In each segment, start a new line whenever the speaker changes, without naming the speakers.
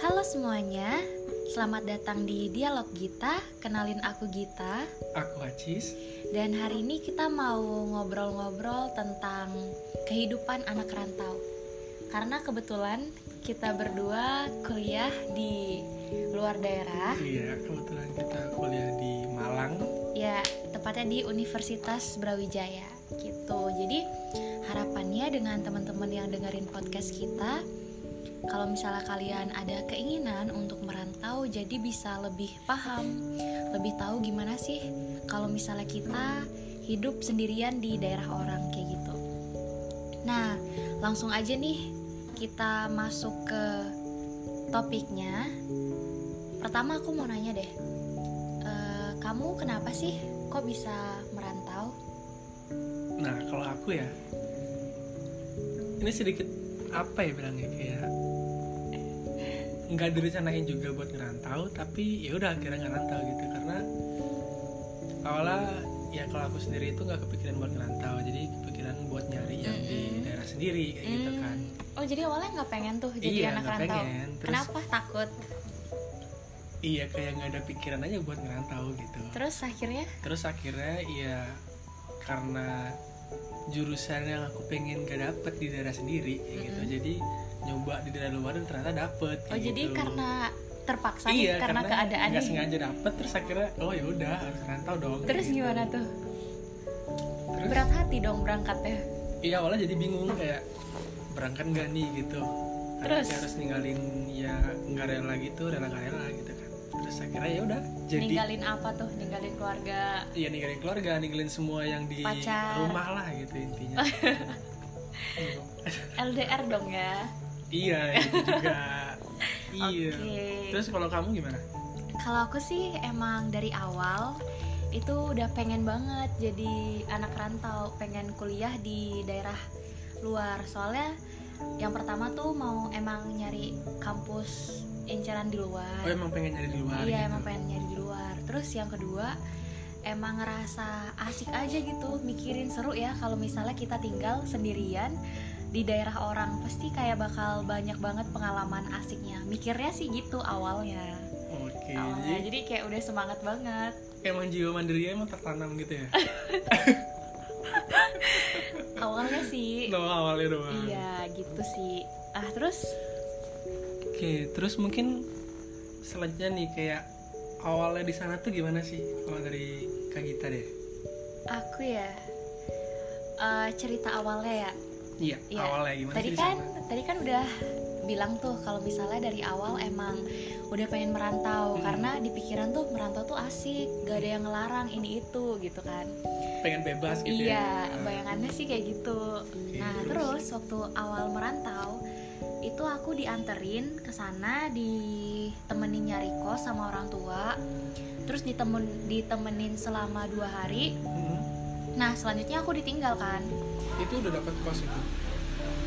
semuanya, selamat datang di Dialog Gita. Kenalin aku Gita
Aku Acis.
dan hari ini kita mau ngobrol-ngobrol tentang kehidupan anak rantau. Karena kebetulan kita berdua kuliah di luar daerah,
Iya, kebetulan kita kuliah di Malang.
ya tepatnya di Universitas Brawijaya gitu. Jadi harapannya dengan teman-teman yang dengerin podcast kita kalau misalnya kalian ada keinginan untuk merantau jadi bisa lebih paham, lebih tahu gimana sih kalau misalnya kita hidup sendirian di daerah orang kayak gitu. Nah, langsung aja nih kita masuk ke topiknya. Pertama aku mau nanya deh. eh, kamu kenapa sih kok bisa merantau?
Nah, kalau aku ya, ini sedikit apa ya bilangnya kayak nggak direncanain juga buat ngerantau, tapi ya udah akhirnya ngerantau gitu karena awalnya ya kalau aku sendiri itu nggak kepikiran buat ngerantau, jadi kepikiran buat nyari yang di
Mm-mm.
daerah sendiri kayak gitu kan.
Hmm, Oh, jadi awalnya nggak pengen tuh jadi
Iya,
anak
nggak
rantau.
pengen. Terus-
Kenapa takut?
Iya kayak nggak ada pikiran aja buat ngerantau gitu.
Terus akhirnya
terus akhirnya ya karena jurusan yang aku pengen gak dapet di daerah sendiri kayak gitu
Mm-mm.
jadi nyoba di daerah luar dan ternyata dapet kayak
Oh jadi
gitu.
karena terpaksa nih,
iya,
karena, keadaan
nggak
nih.
sengaja dapet terus akhirnya oh ya udah harus rantau dong kayak
Terus
gitu.
gimana tuh?
terus
Berat hati dong berangkatnya.
iya awalnya jadi bingung kayak berangkat gak nih gitu Karena
Terus?
kayak harus ninggalin ya nggak rela gitu rela nggak rela gitu kan terus akhirnya ya udah jadi
Ninggalin apa tuh? Ninggalin keluarga.
Iya ninggalin keluarga, ninggalin semua yang di
Pacar.
rumah lah gitu intinya. Gitu.
LDR dong ya.
iya itu juga. iya.
Oke.
Terus kalau kamu gimana?
Kalau aku sih emang dari awal itu udah pengen banget jadi anak rantau, pengen kuliah di daerah luar. Soalnya yang pertama tuh mau emang nyari kampus inceran di luar.
Oh emang pengen nyari di luar
Eh. Iya
gitu.
emang pengen nyari di luar. Terus yang kedua emang ngerasa asik aja gitu, mikirin seru ya kalau misalnya kita tinggal sendirian di daerah orang pasti kayak bakal banyak banget pengalaman asiknya. Mikirnya sih gitu awalnya.
Oke.
Awalnya
Jadi
Iya, jadi kayak udah semangat banget.
emang jiwa mandiri emang tertanam gitu ya.
Awalnya sih
Lo awalnya doang.
iya gitu sih. Ah terus
Oke. Terus mungkin selanjutnya nih kayak awalnya di sana tuh gimana sih kalau dari Kak Gita deh?
aku ya eh, cerita awalnya ya
Iya.
Iya.
Awalnya gimana
tadi
sih
kan
di sana?
tadi kan udah bilang tuh kalau misalnya dari awal emang udah pengen merantau
Hmm.
karena di pikiran tuh merantau tuh asik gak ada yang ngelarang ini itu gitu kan
Pengen bebas gitu
iya
ya?
bayangannya sih kayak gitu nah terus. waktu awal merantau itu aku dianterin ke sana ditemenin nyari kos sama orang tua terus ditemen ditemenin selama dua hari
Hmm.
nah selanjutnya aku ditinggalkan
Itu udah dapet kos itu.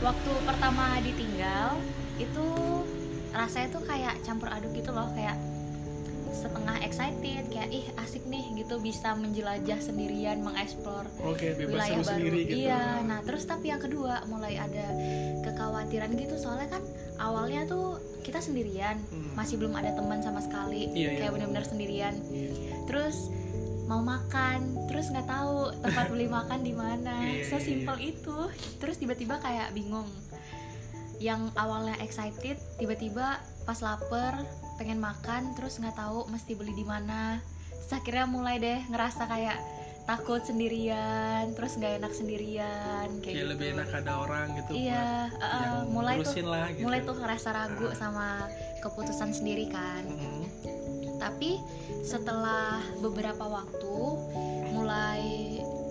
waktu pertama ditinggal itu rasanya tuh kayak campur aduk gitu loh kayak setengah excited kayak ih asik nih gitu bisa menjelajah sendirian mengeksplor
Oke, bebas
wilayah
seru
baru
sendiri gitu.
iya nah terus tapi yang kedua mulai ada kekhawatiran gitu soalnya kan awalnya tuh kita sendirian
Hmm.
masih belum ada teman sama sekali
Iya, iya.
kayak benar-benar sendirian
Iya.
terus mau makan terus nggak tahu tempat beli makan di mana
Iya, iya,
sesimpel itu terus tiba-tiba kayak bingung yang awalnya excited tiba-tiba pas lapar pengen makan terus nggak tahu mesti beli di mana Terus akhirnya mulai deh ngerasa kayak takut sendirian terus nggak enak sendirian kayak
Kayak
gitu.
lebih enak ada orang gitu.
iya
buat
eh,
yang
mulai tuh
ngurusin lah gitu. Ah.
mulai tuh ngerasa ragu sama keputusan sendiri kan
Mm-mm.
tapi setelah beberapa waktu mulai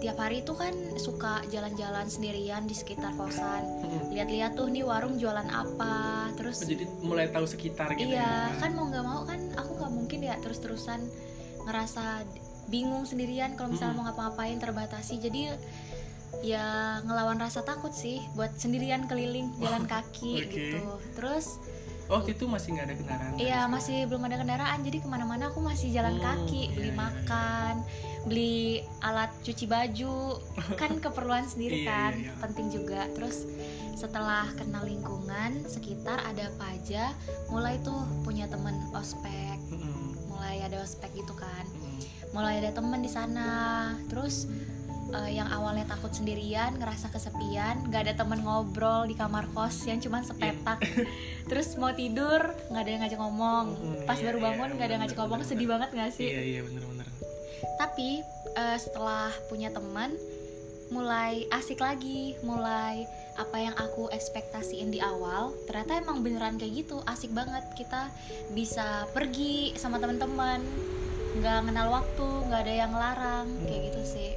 tiap hari itu kan suka jalan-jalan sendirian di sekitar kosan
Mm-mm.
lihat-lihat tuh nih warung jualan apa
Oh,
terus
Jadi mulai tahu sekitar gitu.
iya
ya.
kan mau nggak mau kan aku nggak mungkin ya terus-terusan ngerasa bingung sendirian kalau misalnya
Mm-mm.
mau ngapa-ngapain terbatasi jadi ya ngelawan rasa takut sih buat sendirian keliling jalan kaki
Oh, Oke.
gitu terus
Oh, waktu itu masih nggak ada kendaraan kan?
Iya masih belum ada kendaraan jadi kemana-mana aku masih jalan
Hmm,
kaki
iya,
beli
iya, iya.
makan beli alat cuci baju kan keperluan sendiri
Iya,
kan
iya, iya.
penting juga terus setelah kenal lingkungan sekitar ada apa aja mulai tuh punya temen ospek
Mm-mm,
mulai ada ospek gitu kan
mm-mm.
mulai ada temen di sana terus eh, yang awalnya takut sendirian ngerasa kesepian nggak ada temen ngobrol di kamar kos yang cuman sepetak
Iya.
terus mau tidur nggak ada yang ngajak ngomong
Mm,
pas
iya,
baru
iya,
bangun nggak ada yang ngajak
bener,
ngomong
bener,
sedih banget nggak sih
iya iya bener-bener
tapi eh, setelah punya teman mulai asik lagi mulai apa yang aku ekspektasiin di awal ternyata emang beneran kayak gitu asik banget kita bisa pergi sama teman-teman nggak kenal waktu nggak ada yang larang kayak gitu sih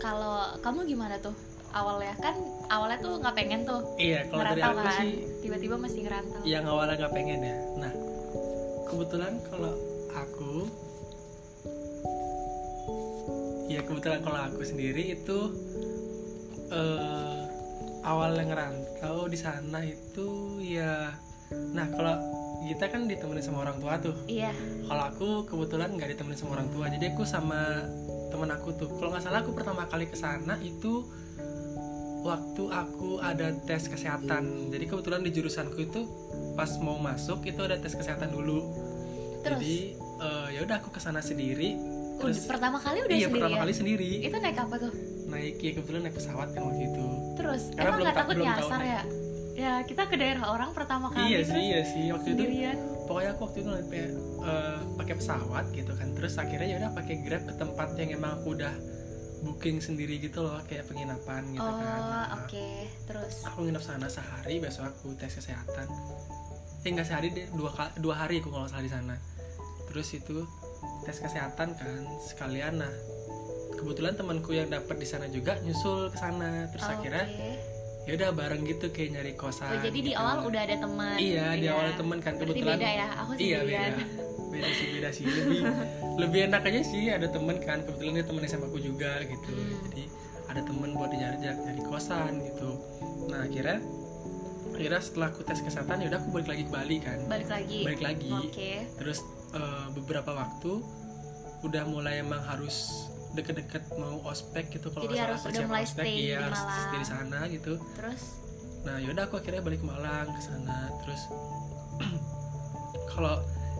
kalau kamu gimana tuh awalnya kan awalnya tuh nggak pengen tuh
iya kalau dari
ngerantau
aku
kan
sih iya.
tiba-tiba mesti ngerantau
yang awalnya nggak pengen ya nah kebetulan kalau aku ya kebetulan kalau aku sendiri itu eh, awalnya ngerantau di sana itu ya nah kalau kita kan ditemenin sama orang tua tuh
iya
kalau aku kebetulan nggak ditemenin sama orang tua jadi aku sama temen aku tuh kalau nggak salah aku pertama kali ke sana itu waktu aku ada tes kesehatan jadi kebetulan di jurusanku itu pas mau masuk itu ada tes kesehatan dulu
terus
jadi eh, ya udah aku ke sana sendiri
udah-
terus
pertama kali udah
iya
sendirian
pertama kali sendiri
itu naik apa tuh
naik ya kebetulan naik pesawat kan waktu itu
Terus
Karena
emang
belum
nggak
ta-
takut
belum
nyasar
tahu.
ya? Ya kita ke daerah orang pertama kali
iya
terus
sih iya sih waktu itu
sendirian.
pokoknya aku waktu itu naik pe- eh, pakai pesawat gitu kan terus akhirnya ya udah pakai grab ke tempat yang emang aku udah booking sendiri gitu loh kayak penginapan gitu
oh
kan Nah,
oke terus
aku nginep sana sehari besok aku tes kesehatan eh nggak sehari deh dua kali, dua hari aku kalau nggak salah di sana terus itu tes kesehatan kan sekalian nah kebetulan temanku yang dapat di sana juga nyusul ke sana terus
Oh,
akhirnya
oke.
ya udah bareng gitu kayak nyari kosan
Oh, jadi di
gitu.
awal udah ada teman.
iya
gitu
di
ya.
awal teman kan
Berarti
kebetulan
beda ya aku
Iya
sendirian.
beda beda sih beda sih lebih lebih enak aja sih ada temen kan kebetulan dia temen SMA aku juga gitu
Hmm.
jadi ada temen buat diajak dari kosan gitu nah akhirnya akhirnya setelah aku tes kesehatan yaudah aku balik lagi ke Bali kan
Balik lagi.
balik lagi
Oke.
terus eh, beberapa waktu udah mulai emang harus deket-deket mau ospek gitu kalau
Jadi
nggak salah
harus udah
persiapan
mulai
ospek,
stay
iya,
di
harus
Malang.
stay di sana gitu
Terus
Nah, yaudah aku akhirnya balik ke Malang ke sana. Terus kalau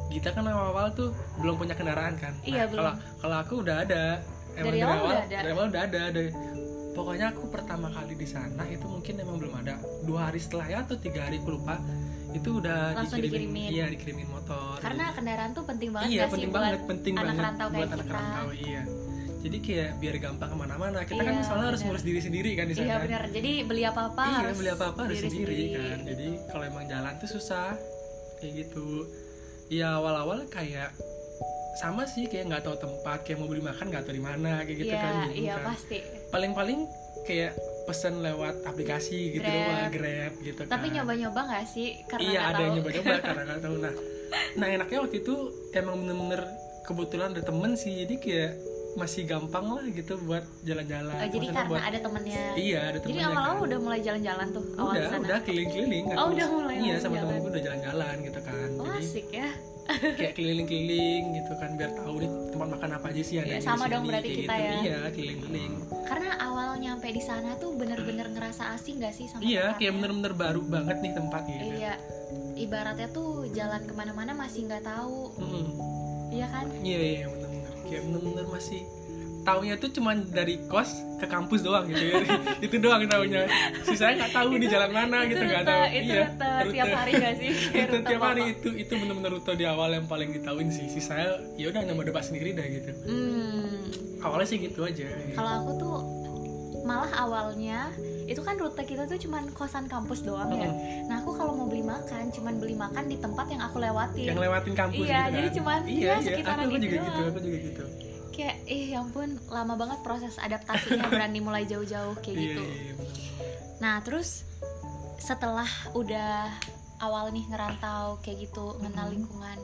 Gita kan awal-awal tuh belum punya kendaraan kan. Nah,
Iya, belum.
Kalau kalau aku udah ada.
Dari awal udah ada.
Dari awal udah ada. Dari, pokoknya aku pertama kali di sana itu mungkin emang belum ada. Dua hari setelahnya atau tiga hari aku lupa itu udah
Langsung dikirimin.
Iya dikirimin motor.
karena kendaraan tuh penting banget
iya
nggak
penting
sih
banget,
buat
penting
anak
banget
rantau
buat
kayak
anak
kita.
rantau iya. Jadi kayak biar gampang kemana-mana. Kita kan
Iya,
misalnya harus
bener.
ngurus diri sendiri kan di sana.
Iya benar. Jadi beli apa-apa
iya,
harus
beli apa-apa harus
diri
sendiri, kan. Jadi kalau emang jalan tuh susah kayak gitu. Ya awal-awal kayak sama sih kayak nggak tahu tempat, kayak mau beli makan nggak tahu di mana kayak gitu
Iya,
kan. bingung
iya
kan.
pasti.
Paling-paling kayak pesan lewat aplikasi gitu
Grab.
doang, Grab gitu kan.
Tapi nyoba-nyoba nggak sih karena
iya,
nggak
ada yang
tahu.
nyoba-nyoba karena nggak tahu. Nah, nah enaknya waktu itu emang bener-bener kebetulan ada temen sih, jadi kayak masih gampang lah gitu buat jalan-jalan.
Oh, jadi
Maksudnya
karena
buat,
ada temennya.
iya ada
Jadi
temennya
awal-awal
kan
udah mulai jalan-jalan tuh awal
udah
di sana.
udah keliling-keliling
Oh,
aku-
udah mulai
iya sama
jalan.
temen gue udah jalan-jalan gitu kan
Oh,
jadi
asik ya.
kayak keliling-keliling gitu kan biar tahu nih tempat makan apa aja sih ada
Iya,
di
sama
sini,
dong berarti
kayak
kita
gitu.
ya.
iya keliling-keliling
Karena awal nyampe di sana tuh bener-bener ngerasa asing gak sih sama tempatnya?
iya kayak bener-bener baru banget nih tempat gitu
Iya. Ibaratnya tuh jalan kemana-mana masih nggak tahu,
Mm-mm.
iya kan?
iya iya bener-bener kayak bener-bener masih taunya tuh cuman dari kos ke kampus doang gitu ya. itu doang taunya sisanya nggak tahu di jalan mana
itu
gitu nggak
rute,
tahu
itu
Iya,
rute tiap hari gak sih? Kayak
itu
rute
tiap hari
pokok.
itu itu benar-benar rute di awal yang paling ditahuin sih sih saya ya udah nambah debat sendiri dah gitu
Hmm,
awalnya sih gitu aja
kalau aku tuh malah awalnya itu kan rute kita tuh cuman kosan kampus doang ya. Nah aku kalau mau beli makan, cuman beli makan di tempat yang aku lewatin.
yang lewatin kampus
Iya,
gitu kan.
jadi cuman,
iya,
ya,
iya.
sekitaran
aku, aku
itu
juga
doang.
gitu aku juga gitu
kayak eh ya ampun lama banget proses adaptasinya berani mulai gitu. jauh-jauh kayak
iya
gitu
iya benar.
nah terus setelah udah awal nih ngerantau kayak gitu ngenal lingkungan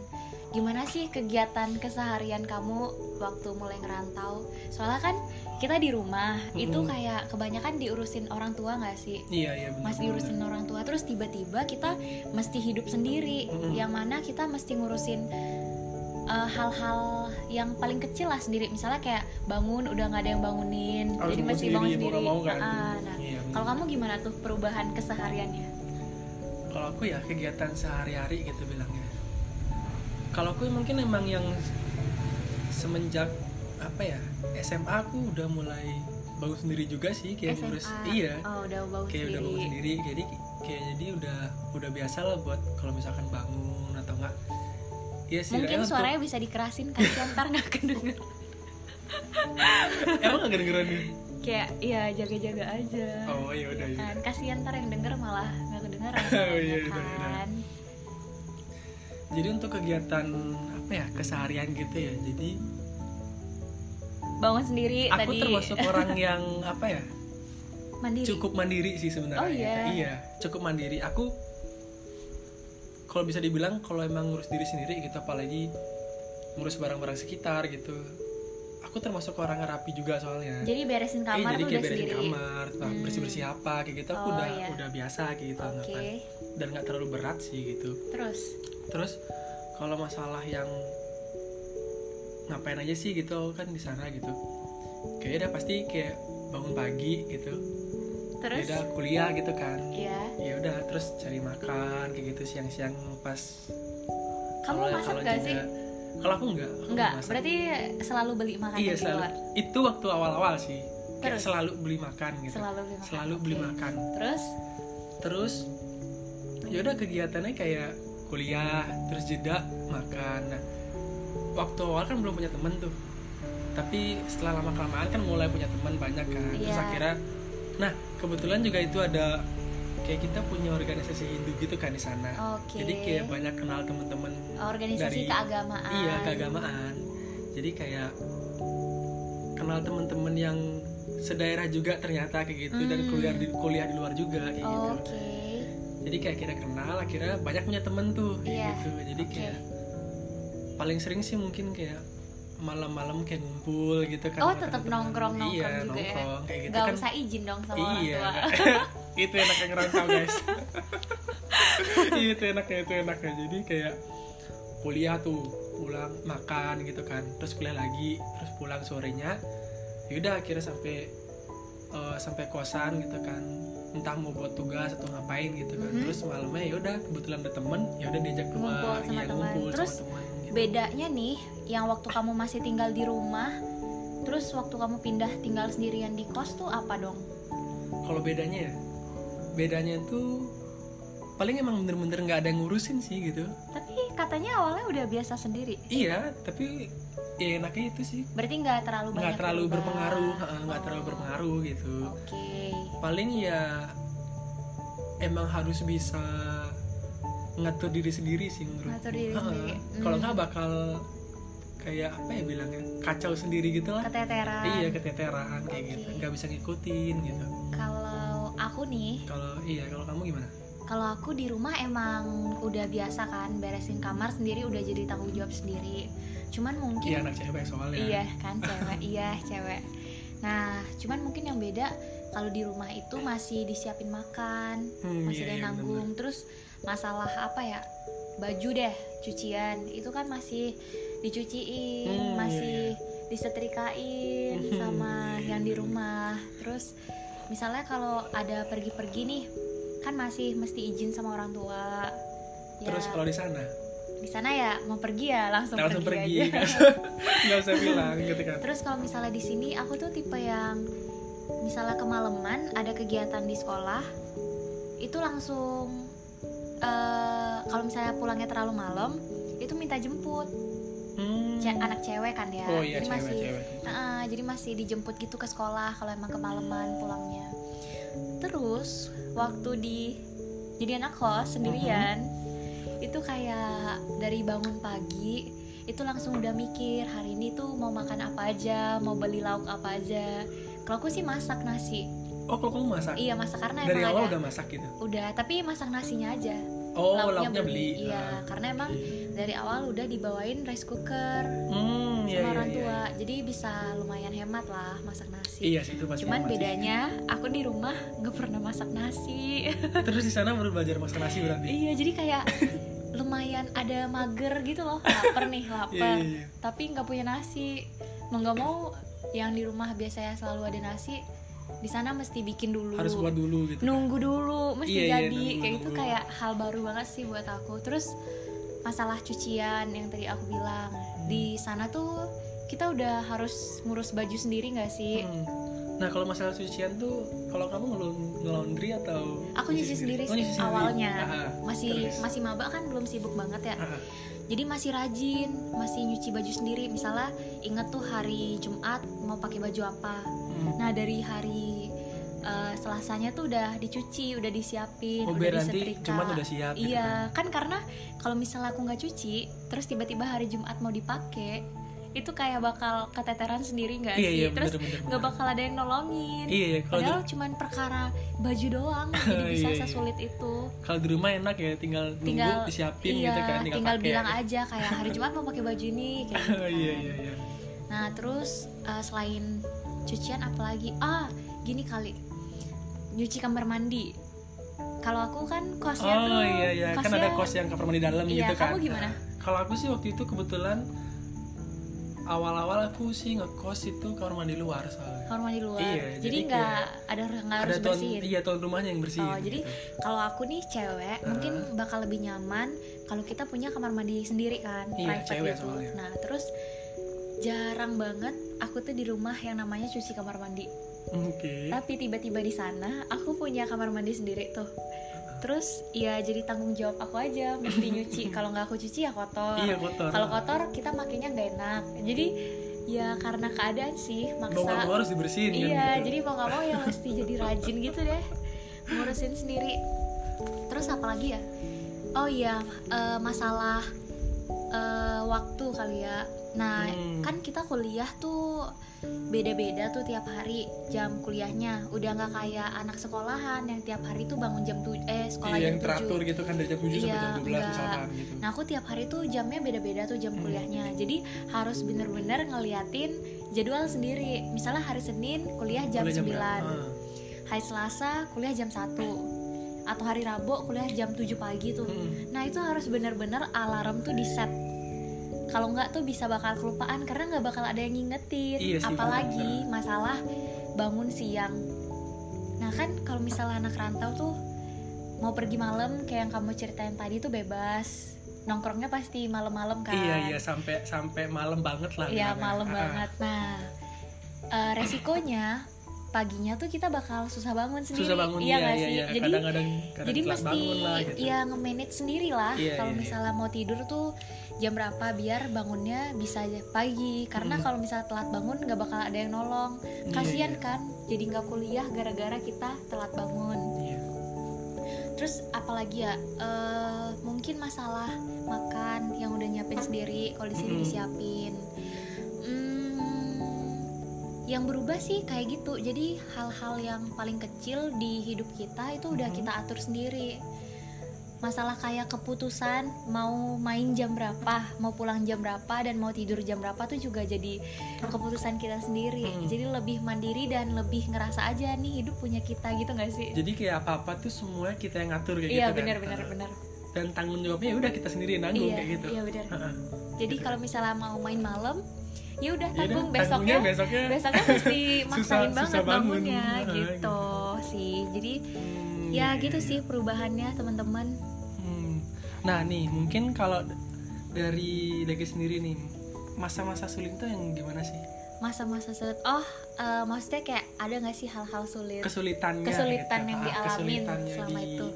gimana sih kegiatan keseharian kamu waktu mulai ngerantau soalnya kan kita di rumah itu
Mm-mm.
kayak kebanyakan diurusin orang tua nggak sih
iya iya benar
masih diurusin orang tua terus tiba-tiba kita mesti hidup sendiri
Mm-mm.
yang mana kita mesti ngurusin eh, hal-hal yang paling kecil lah sendiri misalnya kayak bangun udah nggak ada yang bangunin
Harus
jadi mesti
bangun
bangun
sendiri, mau
sendiri
nggak mau kan.
Ah, nah
Iya, bener.
kalau kamu gimana tuh perubahan kesehariannya
kalau aku ya kegiatan sehari-hari gitu bilangnya kalau aku mungkin emang yang semenjak apa ya SMA aku udah mulai bangun sendiri juga sih kayak
SMA
ngurus iya
oh udah bangun
kayak udah
sendiri
bangun sendiri jadi kayak jadi udah udah biasa lah buat kalau misalkan bangun atau enggak iya sih
mungkin
Raya, untuk-
suaranya bisa dikerasin kasihan ntar nggak kedenger
emang nggak kedengeran
kayak ya jaga-jaga aja
oh ya udah ya
kan kasihan ntar yang denger malah nggak kedengeran
Oh, iya,
ya
iya, iya.
kan
jadi untuk kegiatan apa ya keseharian gitu ya jadi
bangun sendiri
aku
tadi
termasuk orang yang apa ya
mandiri
cukup mandiri sih sebenarnya
Oh, iya.
iya cukup mandiri aku kalau bisa dibilang kalau emang ngurus diri sendiri gitu apalagi ngurus barang-barang sekitar gitu aku termasuk orang rapi juga soalnya
jadi beresin
Eh,
kamar tuh
jadi kayak
udah
beresin
sendiri
kamar, nah,
Hmm.
bersih-bersih apa kayak gitu aku
Oh,
udah
iya.
udah biasa kayak gitu
oke
anggapan. Dan nggak terlalu berat sih gitu.
terus
Terus kalau masalah yang ngapain aja sih gitu aku kan di sana gitu. Kayaknya udah pasti kayak bangun pagi gitu.
terus
Ya udah kuliah gitu kan.
ya
Ya udah terus cari makan kayak gitu siang-siang pas
kamu
kalau-
masak
kalau
gak
jeda-
sih
Kalau aku enggak, aku
Enggak,
masak.
berarti selalu beli makan
Iya,
di
selalu.
luar
Itu waktu awal-awal sih. Kayak
Terus?
selalu beli makan gitu.
selalu beli makan
Selalu beli
Oke.
makan.
terus
terus ya udah kegiatannya kayak kuliah terus jeda makan Nah, waktu awal kan belum punya temen tuh tapi setelah lama kelamaan kan mulai punya teman banyak kan terus
Iya.
akhirnya nah kebetulan juga itu ada kayak kita punya organisasi Hindu gitu kan di sana
oke
jadi kayak banyak kenal teman-teman
organisasi
dari-
keagamaan
iya keagamaan jadi kayak kenal teman-teman yang sedaerah juga ternyata kayak gitu dan
Hmm. Oh,
kuliah di kuliah di luar juga kayak gitu
oke
jadi kayak akhirnya kenal akhirnya banyak punya temen tuh
Iya,
kayak gitu jadi
oke.
kayak paling sering sih mungkin kayak malam-malam kayak ngumpul gitu kan
Oh,
sama
tetap
teman-teman.
nongkrong-nongkrong juga
iya,
ya?
nongkrong, kayak gitu
Gak
kan
usah izin dong sama
iya
orang tua
itu enaknya ngerantau guys Iya, itu enaknya itu enaknya jadi kayak kuliah tuh pulang makan gitu kan terus kuliah lagi terus pulang sorenya yaudah akhirnya sampai eh, sampai kosan gitu kan entah mau buat tugas atau ngapain gitu kan
Mhm.
terus malamnya yaudah kebetulan ada temen yaudah diajak
Ngumpul
keluar
sama
iya,
teman.
ngumpul
Terus
sama teman gitu.
bedanya nih yang waktu kamu masih tinggal di rumah terus waktu kamu pindah tinggal sendirian di kos tuh apa dong
kalau bedanya ya bedanya tuh paling emang bener-bener nggak ada yang ngurusin sih gitu
tapi katanya awalnya udah biasa sendiri
iya tapi ya enaknya itu sih
berarti nggak terlalu banyak
nggak terlalu
berubah.
berpengaruh eh, nggak
Oh,
terlalu berpengaruh gitu
oke
paling ya emang harus bisa ngatur diri sendiri sih menurut
Ngatur diri sendiri.
kalau
Hmm.
nggak bakal kayak apa ya bilangnya kacau sendiri gitu lah
keteteran
iya keteteran kayak gitu
Oke.
nggak bisa ngikutin gitu
kalau aku nih
kalau iya kalau kamu gimana
kalau aku di rumah emang udah biasa kan beresin kamar sendiri udah jadi tanggung jawab sendiri cuman mungkin
iya anak cewek soalnya
Iya kan cewek, iya cewek. Nah, cuman mungkin yang beda kalau di rumah itu masih disiapin makan,
Hmm,
masih
iya,
ada yang
iya,
nanggung. Terus masalah apa ya? Baju deh, cucian itu kan masih dicuciin,
Hmm, iya,
masih disetrikain
Hmm,
sama
iya,
yang di
bener.
rumah. Terus misalnya kalau ada pergi-pergi nih, kan masih mesti izin sama orang tua. Ya,
terus kalau di sana
di sana ya mau pergi ya langsung,
langsung
pergi,
pergi
aja.
nggak usah- nggak usah bilang gitu kan
Terus kalau misalnya di sini aku tuh tipe yang misalnya kemalaman ada kegiatan di sekolah itu langsung eh kalau misalnya pulangnya terlalu malam itu minta jemput
Hmm.
Ce- anak cewek kan ya
oh iya
jadi
cewek
masih
cewek
Nah, jadi masih dijemput gitu ke sekolah kalau emang kemalaman pulangnya terus waktu di jadi anak kos sendirian
Mm-hmm.
itu kayak dari bangun pagi itu langsung udah mikir hari ini tuh mau makan apa aja mau beli lauk apa aja kalau aku sih masak nasi
oh kalau kamu masak
iya masak karena
dari
emang
awal
ada
udah masak gitu
udah tapi masak nasinya aja
Oh, lauknya beli.
iya
Ah,
karena emang
oke.
dari awal udah dibawain rice cooker sama
Hmm, iya, iya,
orang
iya,
tua jadi bisa lumayan hemat lah masak nasi
Iya sih itu pasti.
cuman
hemat sih.
bedanya aku di rumah nggak pernah masak nasi
Terus di sana baru belajar masak nasi berarti.
iya jadi kayak lumayan ada mager gitu loh lapar nih
Iya,
lapar
iya, iya.
tapi nggak punya nasi mau nggak mau yang di rumah biasanya selalu ada nasi di sana mesti bikin dulu
Harus buat dulu gitu. kan.
nunggu dulu mesti
Iya, iya,
jadi
nunggu,
kayak itu
nunggu.
kayak hal baru banget sih buat aku terus masalah cucian yang tadi aku bilang
Hmm.
di sana tuh kita udah harus ngurus baju sendiri nggak sih
Hmm. Nah kalau masalah cucian tuh, kalau kamu ngelu- ngelaundry atau
aku nyuci sendiri
Oh,
sih
nyuci sendiri.
awalnya
Ah,
masih
terus.
masih maba kan belum sibuk banget ya
ah, ah.
jadi masih rajin masih nyuci baju sendiri misalnya inget tuh hari Jumat mau pakai baju apa
Hmm.
nah dari hari eh, Selasanya tuh udah dicuci udah disiapin
Oh,
udah
biar nanti
disetrika.
Jumat udah siap gitu
iya kan karena kalau misalnya aku nggak cuci terus tiba-tiba hari Jumat mau dipakai itu kayak bakal keteteran sendiri nggak
Iya,
sih
iya,
terus
bener, bener,
nggak
bener.
bakal ada yang nolongin
Iya, iya, kalau
padahal cuman perkara baju doang jadi bisa
Iya, iya.
sesulit itu
Kalau di rumah enak ya, tinggal nunggu
tinggal
disiapin
iya,
gitu kan, tinggal, pakai.
bilang aja kayak hari Jumat mau pakai baju ini kayak gitu kan.
iya iya iya.
Nah, terus eh, selain cucian apalagi? Ah, gini kali. Nyuci kamar mandi. Kalau aku kan kosnya tuh
Oh iya iya, kan
kosnya-
ada kos yang kamar mandi dalam
Iya,
gitu kan.
kamu gimana?
Kalau aku sih waktu itu kebetulan awal-awal aku sih ngekos itu kamar mandi luar soalnya.
kamar mandi luar.
Iya,
jadi
jadi
nggak ada nggak harus
tuan
bersihin.
iya tuan rumahnya yang bersihin.
Oh, jadi
gitu.
kalau aku nih cewek mungkin bakal lebih nyaman kalau kita punya kamar mandi sendiri kan,
Iya,
private
cewek
gitu.
soalnya.
Nah, terus jarang banget aku tuh di rumah yang namanya cuci kamar mandi.
Oke.
Tapi tiba-tiba di sana aku punya kamar mandi sendiri tuh. Terus ya jadi tanggung jawab aku aja mesti nyuci. Kalau nggak aku cuci ya kotor.
Iya kotor.
Kalau kotor kita makainya nggak enak. Jadi ya karena keadaan sih
mau nggak mau
maksa.
harus dibersihin kan
Iya,
gitu.
jadi mau nggak mau ya mesti jadi rajin gitu deh. Ngurusin sendiri. Terus apa lagi ya? Oh iya, eh, masalah eh, waktu kali ya. Nah,
Hmm.
kan kita kuliah tuh beda-beda tuh tiap hari jam kuliahnya. Udah nggak kayak anak sekolahan yang tiap hari tuh bangun jam 7 eh sekolah
Iya,
jam
yang teratur
7.
gitu kan dari jam
Iya,
7 sampai jam 12
enggak.
misalkan gitu.
Nah, aku tiap hari tuh jamnya beda-beda tuh jam
Hmm.
kuliahnya. Jadi harus bener-bener ngeliatin jadwal sendiri. Misalnya hari Senin kuliah jam
Boleh
9
berapa? Ah.
hari Selasa kuliah jam 1 atau hari Rabu kuliah jam 7 pagi tuh.
Hmm.
Nah, itu harus bener-bener alarm tuh di set. Kalau nggak tuh bisa bakal kelupaan karena nggak bakal ada yang ngingetin.
Iya sih,
Apalagi masalah bangun siang. Nah, kan kalau misalnya anak rantau tuh mau pergi malam kayak yang kamu ceritain tadi tuh bebas. Nongkrongnya pasti malam-malam kan.
Iya iya sampai sampai malam banget lah.
Iya
bilangnya.
malam
Ah, ah.
banget. Nah, eh, resikonya paginya tuh kita bakal susah bangun sendiri.
Susah bangun
iya
iya
nggak
iya
sih?
iya.
Jadi
Kadang-kadang kadang
jadi
telat
mesti
bangun lah gitu.
ya nge-manage sendiri lah.
Iya,
kalau
iya, iya.
misalnya mau tidur tuh jam berapa biar bangunnya bisa aja pagi. Karena
Hmm.
kalau misalnya telat bangun nggak bakal ada yang nolong.
Iya,
Kasian
iya.
kan? Jadi nggak kuliah gara-gara kita telat bangun.
Iya.
Terus apalagi ya? eh, mungkin masalah makan yang udah nyiapin sendiri, kalau di sini
Mm-mm.
disiapin. Hmm, yang berubah sih kayak gitu. Jadi hal-hal yang paling kecil di hidup kita itu udah
Mhm.
kita atur sendiri. Masalah kayak keputusan mau main jam berapa, mau pulang jam berapa dan mau tidur jam berapa tuh juga jadi keputusan kita sendiri.
Hmm.
Jadi lebih mandiri dan lebih ngerasa aja nih hidup punya kita gitu gak sih?
Jadi kayak apa-apa tuh semuanya kita yang ngatur kayak
Iya
gitu kan.
benar benar
Ah.
benar.
Dan tanggung jawabnya ya udah kita sendiri yang nanggung
Iya
kayak gitu.
iya benar.
Ah, ah.
Jadi
Gitu.
kalau misalnya mau main malam, ya udah
Ya udah,
tanggung
tanggungnya
besoknya.
besoknya.
Besoknya mesti maksain
susah
banget
bangun.
bangunnya
Ah,
gitu sih. Jadi
Hmm, iya,
ya
iya,
gitu
iya.
sih perubahannya teman-teman.
Hmm. Nah nih mungkin kalau dari Dagi sendiri nih masa-masa sulit tuh yang gimana sih
Masa-masa sulit. Oh, eh, maksudnya kayak ada nggak sih hal-hal sulit?
kesulitannya
Kesulitan
gitu.
yang
Ah,
dialamin
kesulitannya
selama
di
itu.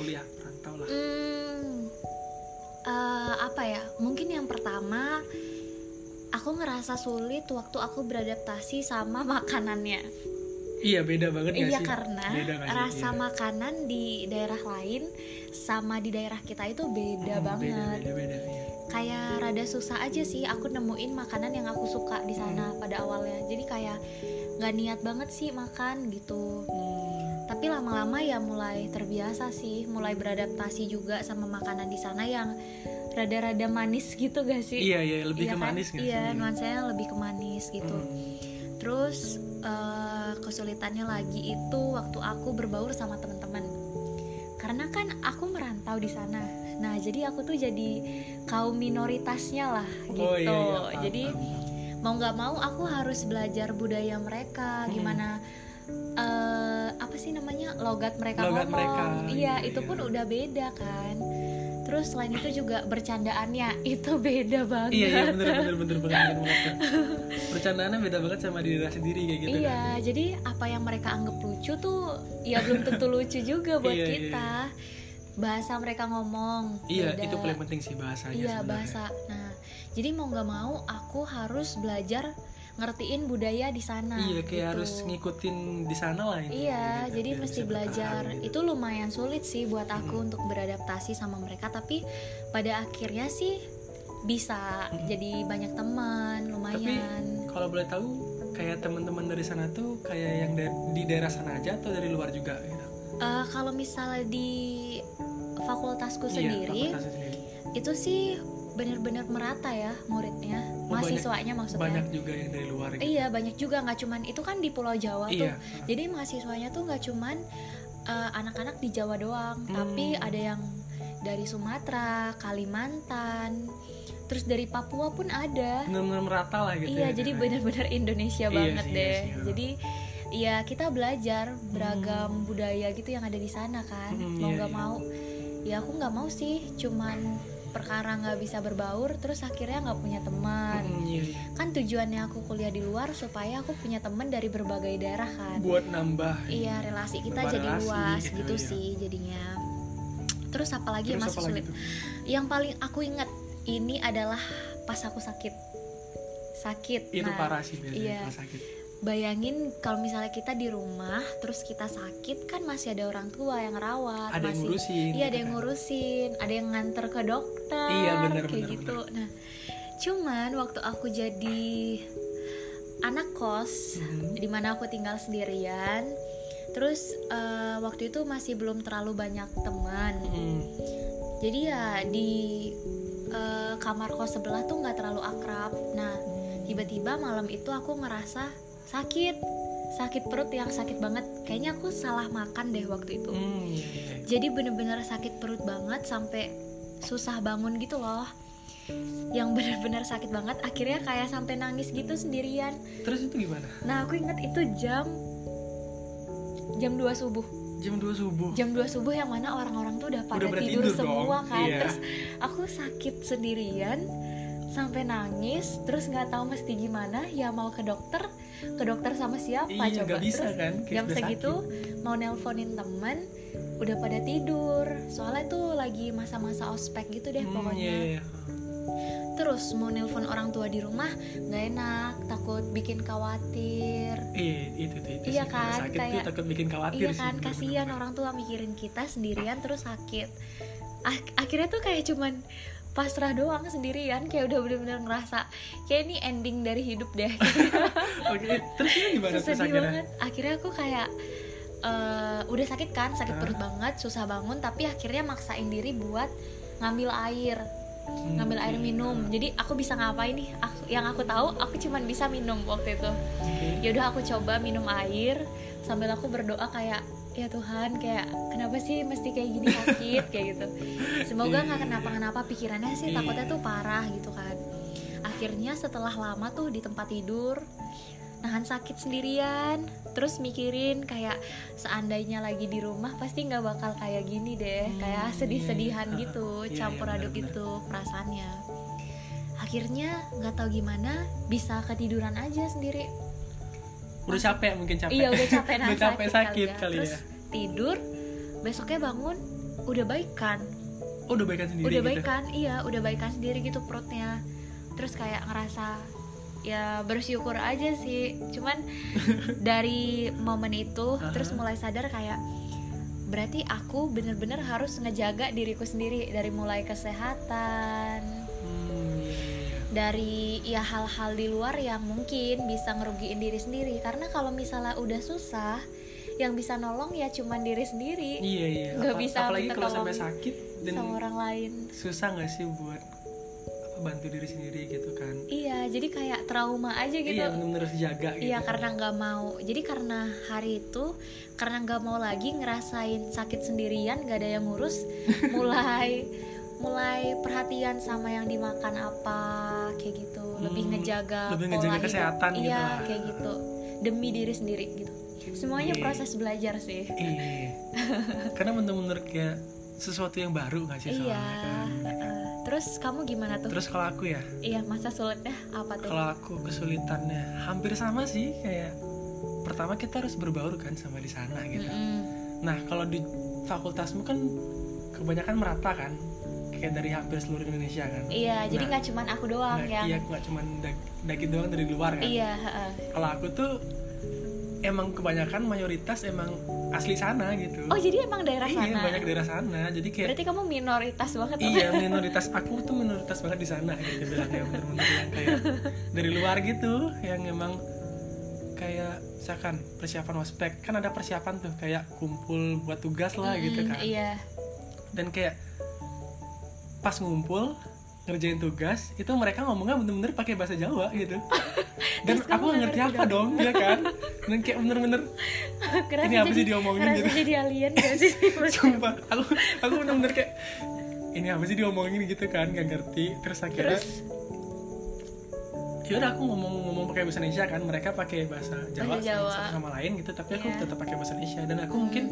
kuliah perantau lah
Hmm, eh, apa ya? Mungkin yang pertama aku ngerasa sulit waktu aku beradaptasi sama makanannya.
iya beda banget nggak
Iya
sih
karena
Beda nggak sih?
rasa
Iya.
makanan di daerah lain sama di daerah kita itu beda
Hmm,
banget.
beda beda, beda iya.
Kayak rada susah aja sih aku nemuin makanan yang aku suka di
Hmm.
sana pada awalnya. Jadi kayak nggak niat banget sih makan gitu.
Hmm.
Tapi tapi lama-lama ya mulai terbiasa sih mulai beradaptasi juga sama makanan di sana yang rada-rada manis gitu gak sih
iya iya lebih
Iya
ke
kan?
manis nggak
iya
sih
nuansanya lebih ke manis gitu
Mm.
terus eh, kesulitannya lagi itu waktu aku berbaur sama teman-teman karena kan aku merantau di sana nah jadi aku tuh jadi kaum minoritasnya lah gitu
Oh, iya, iya, paham,
jadi
paham. Hmm.
mau nggak mau aku harus belajar budaya mereka
Mm-mm.
gimana eh, apa sih namanya logat mereka ngomong
Logat mereka,
iya
iya,
itu
iya.
pun udah beda kan terus selain itu juga bercandaannya itu beda banget
iya iya bener bener bener banget bener banget. bercandaannya beda banget sama diri sendiri kayak gitu
iya
kan
jadi apa yang mereka anggap lucu tuh ya belum tentu lucu juga buat
Iya, iya,
kita bahasa mereka ngomong
iya
beda.
itu paling penting sih bahasanya
iya
sebenarnya.
bahasa nah jadi mau nggak mau aku harus belajar ngertiin budaya di sana
iya kayak
gitu.
harus ngikutin di sana lah ini,
Iya,
gitu,
jadi
biar
mesti
bisa
belajar.
bertahan, gitu. Hmm.
Itu lumayan sulit sih buat aku untuk beradaptasi sama mereka, tapi pada akhirnya sih bisa
Hmm.
jadi banyak teman, lumayan.
kalau boleh tahu kayak teman-teman dari sana tuh kayak yang da- di daerah sana aja atau dari luar juga gitu
Eh, kalau misalnya di fakultasku
Iya,
sendiri,
fakultasnya sendiri.
itu sih benar-benar merata ya muridnya,
Oh, banyak-
mahasiswanya maksudnya.
banyak juga yang dari luar gitu
Iya banyak juga nggak cuman itu kan di Pulau Jawa
Iya.
tuh. Jadi mahasiswanya tuh nggak cuman eh, anak-anak di Jawa doang,
Hmm.
tapi ada yang dari Sumatera, Kalimantan, terus dari Papua pun ada.
benar-benar merata lah gitu
iya
ya,
jadi
daerahnya.
benar-benar Indonesia
Iya
banget
sih, iya
deh.
sih, iya.
Jadi ya kita belajar beragam budaya gitu yang ada di sana kan.
Hmm,
mau
iya,
nggak
iya.
mau, ya aku nggak mau sih cuman perkara nggak bisa berbaur, terus akhirnya nggak punya teman
Mm, iya, iya.
kan tujuannya aku kuliah di luar supaya aku punya temen dari berbagai daerah kan
buat nambah
iya relasi kita
Nambah
jadi
relasi
luas
gitu,
gitu
iya.
sih jadinya terus apalagi yang
Terus
masih
apa lagi
sulit
tuh?
yang paling aku ingat ini adalah pas aku sakit sakit
itu
Nah,
parah sih biasanya
iya.
pas sakit
bayangin kalau misalnya kita di rumah terus kita sakit kan masih ada orang tua yang rawat
ada yang
masih
ngurusin
Iya ada
gitu
yang
kan.
ngurusin, ada yang nganter ke dokter,
Iya, bener,
kayak
bener,
gitu. Nah, cuman waktu aku jadi anak kos,
Mhm.
di mana aku tinggal sendirian, terus eh, waktu itu masih belum terlalu banyak teman,
Mm,
jadi ya di eh, kamar kos sebelah tuh nggak terlalu akrab. Nah, tiba-tiba malam itu aku ngerasa sakit, sakit perut yang sakit banget. Kayaknya aku salah makan deh waktu itu
mm, iya, iya.
jadi bener-bener sakit perut banget sampai susah bangun gitu loh yang bener-bener sakit banget akhirnya kayak sampai nangis gitu sendirian
terus itu gimana
nah aku inget itu jam jam 2 subuh
jam 2 subuh
jam 2 subuh yang mana orang-orang tuh udah pada
Udah pada
tidur,
tidur dong,
semua kan
iya.
terus aku sakit sendirian sampai nangis terus nggak tahu mesti gimana ya mau ke dokter ke dokter sama siapa
iya
coba
nggak bisa
terus
kan kayak
jam
udah
segitu
sakit.
mau nelponin temen udah pada tidur soalnya tuh lagi masa-masa ospek gitu deh
Hmm,
pokoknya
iya, iya.
terus mau nelpon orang tua di rumah nggak enak takut bikin khawatir
Iya, itu, itu, itu
Iya
sih. Kalau
kan,
sakit tuh
kayak-
takut bikin khawatir
iya
sih,
kan
bener-bener.
kasihan orang tua mikirin kita sendirian terus sakit Ak- akhirnya tuh kayak cuman pasrah doang sendirian kayak udah bener-bener ngerasa kayak ini ending dari hidup deh
Oke, terus ini gimana
Susah
terus akhirnya?
banget akhirnya aku kayak eh, udah sakit kan sakit perut banget susah banget tapi akhirnya maksain diri buat ngambil air
Hmm,
ngambil air
iya.
minum jadi aku bisa ngapain nih Aku- yang aku tahu aku cuman bisa minum waktu itu
Oke.
yaudah aku coba minum air sambil aku berdoa kayak ya Tuhan kayak kenapa sih mesti kayak gini sakit kayak gitu semoga nggak
Iya.
kenapa-kenapa pikirannya sih
Iya.
takutnya tuh parah gitu kan akhirnya setelah lama tuh di tempat tidur nahan sakit sendirian terus mikirin kayak seandainya lagi di rumah pasti nggak bakal kayak gini deh
Hmm,
kayak sedih-sedihan
iya.
gitu
Iya, iya,
campur aduk
benar-benar.
gitu perasaannya akhirnya nggak tahu gimana bisa ketiduran aja sendiri
Udah capek mungkin capek.
Iya udah capek nah
Udah capek sakit kali
Terus
ya.
tidur besoknya bangun udah baik kan
Oh, udah baikan sendiri
udah
gitu.
baik kan iya udah baik kan sendiri gitu perutnya terus kayak ngerasa ya bersyukur aja sih cuman dari momen itu
Aha.
terus mulai sadar kayak berarti aku bener-bener harus ngejaga diriku sendiri dari mulai kesehatan
Hmm, iya, iya.
dari ya hal-hal di luar yang mungkin bisa ngerugiin diri sendiri karena kalau misalnya udah susah yang bisa nolong ya cuman diri sendiri
iya iya
Nggak
Apa-
bisa
apalagi
minta
kalau
tolong
sampai sakit dan
sama orang lain
susah nggak sih buat apa bantu diri sendiri gitu kan
iya jadi kayak trauma aja gitu
iya benar-benar harus jaga gitu
Iya karena nggak mau. Jadi karena hari itu karena nggak mau lagi ngerasain sakit sendirian, gak ada yang ngurus, mulai mulai perhatian sama yang dimakan apa kayak gitu, lebih
Hmm,
ngejaga
lebih ngejaga
hidup.
kesehatan gitu
Iya
lah.
kayak gitu demi diri sendiri gitu. Semuanya
Iya.
proses belajar sih.
iya karena benar-benar kayak sesuatu yang baru nggak sih
Iya.
soalnya kan
heeh. Terus kamu gimana tuh?
terus kalau aku ya
Iya masa sulit dah apa tuh?
kalau aku kesulitannya hampir sama sih kayak pertama kita harus berbaur kan sama di sana gitu
Mm-mm.
Nah, kalau di fakultasmu kan kebanyakan merata kan? Kayak dari hampir seluruh Indonesia kan?
Iya jadi
Nah,
nggak cuman aku doang
Nggak-
yang
Iya, nggak cuma dag- dagit doang dari luar kan?
iya. heeh.
Kalau aku tuh emang kebanyakan mayoritas emang asli sana gitu.
Oh jadi emang daerah
iya,
sana?
banyak daerah sana. Jadi kayak
Berarti kamu minoritas banget dong.
iya minoritas aku tuh minoritas banget di sana gitu bilang kayak bener-bener yang kayak dari luar gitu yang emang kayak misalkan persiapan ospek kan ada persiapan tuh kayak kumpul buat tugas lah gitu
Mm,
kan
Iya.
dan kayak pas ngumpul ngerjain tugas itu mereka ngomongnya bener-bener pakai bahasa Jawa gitu dan
Terus kamu
aku nggak ngerti
nggak ngerti
apa dong ya kan dan kayak bener-bener
Kerasa
Ini apa
jadi-
sih diomongin
kerasa
gitu?
jadi alien gak sih?
sumpah aku aku bener-bener kayak ini apa sih diomongin gitu kan nggak ngerti terus akhirnya
Terus
yaudah aku ngomong-ngomong pakai bahasa Indonesia kan mereka pakai bahasa Jawa,
Bahasa Jawa.
Sama, satu sama lain gitu tapi aku
Iya.
tetap pakai bahasa Indonesia dan aku mungkin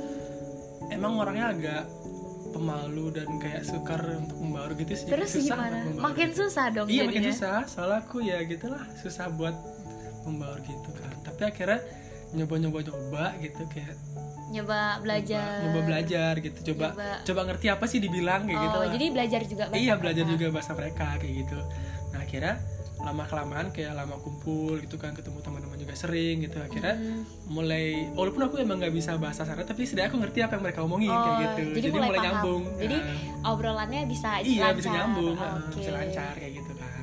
emang orangnya agak pemalu dan kayak sukar untuk membaur gitu sih
terus
Susah
gimana?
buat membaur
Makin
gitu.
susah dong
iya makin
jadinya.
susah soalnya aku ya gitulah susah buat membaur gitu kan tapi akhirnya nyoba-nyoba coba gitu kayak
Nyoba belajar.
nyoba, nyoba belajar gitu coba,
Nyoba.
coba ngerti apa sih dibilang kayak
oh,
gitu lah.
jadi belajar juga bahasa
iya belajar
mereka.
juga bahasa mereka kayak gitu nah akhirnya lama kelamaan kayak lama kumpul gitu kan ketemu teman-teman juga sering gitu akhirnya
Hmm.
mulai walaupun aku emang nggak bisa bahasa sana tapi setidaknya aku ngerti apa yang mereka omongin
Oh,
kayak
jadi,
gitu
mulai, paham.
nyambung
Jadi
Nah
obrolannya bisa
iya
lancar.
bisa nyambung
Oke.
eh, bisa lancar kayak gitu kan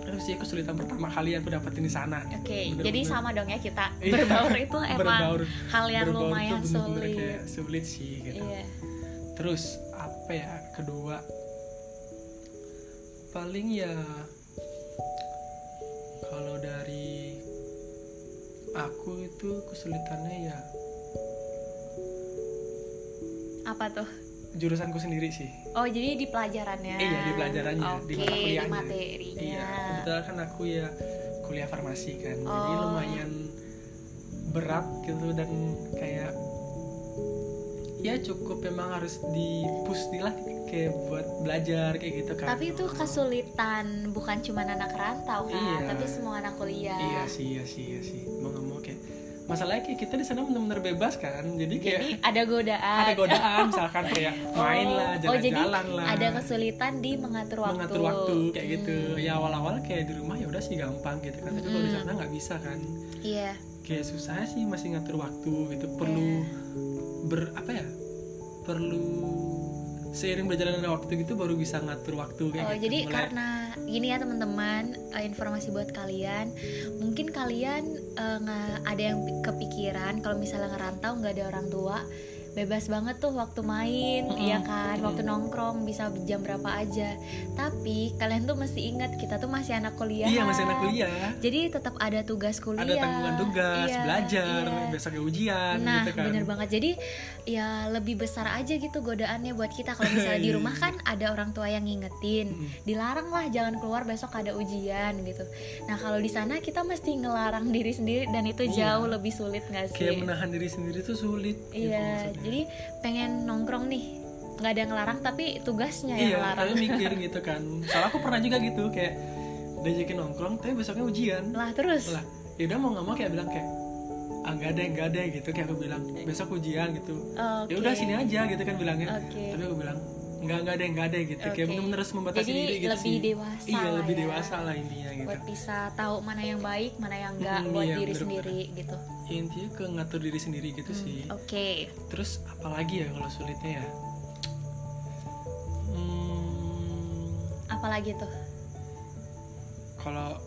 terus sih kesulitan pertama kali yang aku dapetin di sana
Oke,
Bener-bener.
jadi sama dong ya kita
Iya.
berbaur itu emang
Berbaur-
hal yang
berbaur tuh
lumayan
bener-bener
sulit.
kayak sulit sih gitu
Iya.
terus apa ya kedua paling ya kalau dari aku itu kesulitannya ya
Apa tuh?
jurusanku sendiri sih
Oh, jadi di pelajarannya.
Iya, di pelajarannya,
Oke,
di
di,
mata kuliahnya.
materinya.
Iya, kebetulan kan aku ya kuliah farmasi kan, jadi
Oh.
lumayan berat gitu dan kayak ya cukup memang harus dipus lah kayak buat belajar kayak gitu kan.
Tapi itu kesulitan bukan cuma anak rantau kan,
Iya.
tapi semua anak kuliah.
Iya sih, iya sih, iya sih. Mau nggak mau kayak masalahnya kayak kita di sana benar-benar bebas kan, jadi kayak
Jadi ada godaan.
ada godaan misalkan kayak main
Oh,
lah,
oh, jadi
jalan-jalan lah.
ada kesulitan di mengatur waktu.
mengatur waktu kayak gitu
Hmm,
ya awal-awal kayak di rumah ya udah sih gampang gitu kan tapi kalau di
Mm.
sana nggak bisa kan
Iya.
kayak susah sih masih ngatur waktu gitu perlu
Iya.
ber apa ya perlu seiring berjalannya waktu gitu baru bisa ngatur waktu kayak
Oh,
gitu.
jadi
Mulai-
karena gini ya teman-teman, eh, informasi buat kalian, mungkin kalian eh, nggak ada yang pi- kepikiran kalau misalnya ngerantau nggak ada orang tua, bebas banget tuh waktu main,
Mm-mm.
iya kan,
Mm-mm.
waktu nongkrong bisa jam berapa aja. Tapi kalian tuh mesti ingat kita tuh masih anak kuliah.
iya masih anak kuliah
Jadi tetap ada tugas kuliah.
ada tanggungan tugas
Iya,
belajar
iya.
besoknya ujian
Nah,
gitu kan
bener banget. Jadi ya lebih besar aja gitu godaannya buat kita kalau misalnya di rumah kan ada orang tua yang ngingetin.
Iya, Mm-mm.
Dilarang lah jangan keluar besok ada ujian gitu. Nah, kalau di sana kita mesti ngelarang diri sendiri dan itu
Iya.
jauh lebih sulit gak sih?
kayak menahan diri sendiri tuh sulit gitu
Iya,
maksudnya.
jadi pengen nongkrong nih. nggak ada yang ngelarang tapi tugasnya yang
Iya,
ngelarang.
tapi mikir gitu kan. Soalnya aku pernah juga gitu kayak diajakin nongkrong, tapi besoknya ujian.
Lah terus.
Lah, yaudah mau nggak mau kayak bilang kayak ah nggak ada nggak ada gitu kayak aku bilang besok ujian gitu.
Oke.
Ya udah sini aja gitu kan bilangnya.
Oke.
Tapi aku bilang nggak nggak ada nggak ada gitu. Kayak
Oke.
bener-bener harus membatasi
Jadi
diri gitu
lebih
sih.
dewasa
Iya,
lah
lebih
ya.
dewasa lah intinya gitu.
buat bisa tahu mana yang baik, mana yang enggak
Mm,
buat
iya,
diri
bener-bener.
sendiri gitu.
Ya, intinya ke ngatur diri sendiri gitu sih.
Hmm, Oke.
Terus apalagi ya kalau sulitnya ya? Hmm,
apalagi tuh
kalau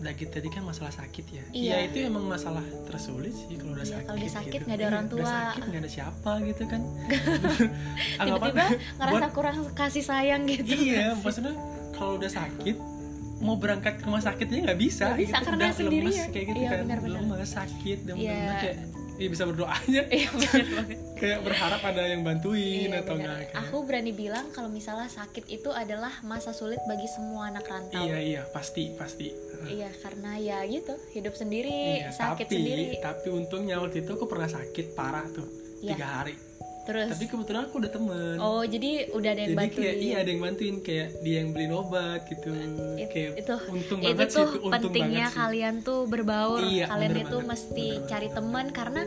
lagi tadi kan masalah sakit ya
Iya.
ya itu emang masalah tersulit sih kalau udah
Iya,
sakit
kalau udah sakit,
gitu.
nggak ada orang
Iya, udah
tua.
sakit nggak ada siapa gitu kan Anggapan-
tiba-tiba ngerasa
buat-
kurang kasih sayang gitu
iya
Kasih-
maksudnya kalau udah sakit mau berangkat ke rumah sakitnya nggak bisa
Nggak bisa,
gitu.
karena
Udah
sendirian.
lemes kayak gitu
Iya,
kan
benar-benar.
lemes sakit dan
Iya.
kayak ya bisa berdoa aja
Iya, bener banget.
kayak berharap ada yang bantuin
Iya,
atau
bener.
nggak kayak-
Aku berani bilang kalau misalnya sakit itu adalah masa sulit bagi semua anak rantau.
iya iya pasti pasti
Iya, karena ya gitu, hidup sendiri,
Iya,
sakit
tapi,
sendiri.
tapi untungnya waktu itu aku pernah sakit parah tuh
Iya.
tiga hari
Terus
tapi kebetulan aku udah temen
oh, jadi udah ada yang
jadi
bantuin.
kayak iya ada yang bantuin kayak dia yang beliin obat gitu
It-
kayak
itu
untung
itu
banget sih
tuh
itu untung
pentingnya
banget sih.
kalian tuh berbaur
Iya,
kalian
bener
itu
banget,
mesti
bener banget.
cari teman karena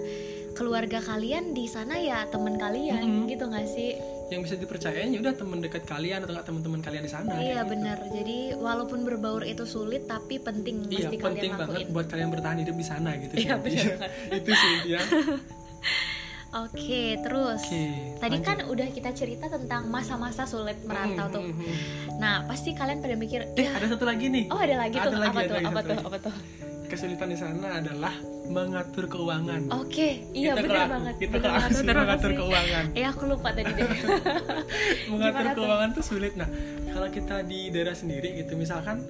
keluarga kalian di sana ya teman kalian
Mm-mm.
gitu nggak sih
yang bisa dipercayain ya udah temen dekat kalian atau nggak teman-teman kalian di sana
iya
kayak gitu.
benar jadi walaupun berbaur itu sulit tapi penting
iya
mesti
penting
kalian
banget
lakuin
buat kalian bertahan hidup di sana gitu
Iya,
sih.
bener
itu sih ya
oke terus
Oke,
tadi
lanjut.
kan udah kita cerita tentang masa-masa sulit merantau tuh
Hmm, hmm, hmm.
nah pasti kalian pada mikir
eh ada satu lagi nih
oh ada lagi
Ada
tuh
lagi,
apa
ada
tuh
lagi,
apa
satu
tuh
lagi.
apa tuh
kesulitan di sana adalah mengatur keuangan
oke iya
Itu
benar
kelaku-
banget
itu
bener
kelaku
banget,
sih
bener banget
mengatur
sih.
keuangan
Eh aku lupa tadi deh.
mengatur
Gimana tuh?
keuangan tuh sulit nah kalau kita di daerah sendiri gitu misalkan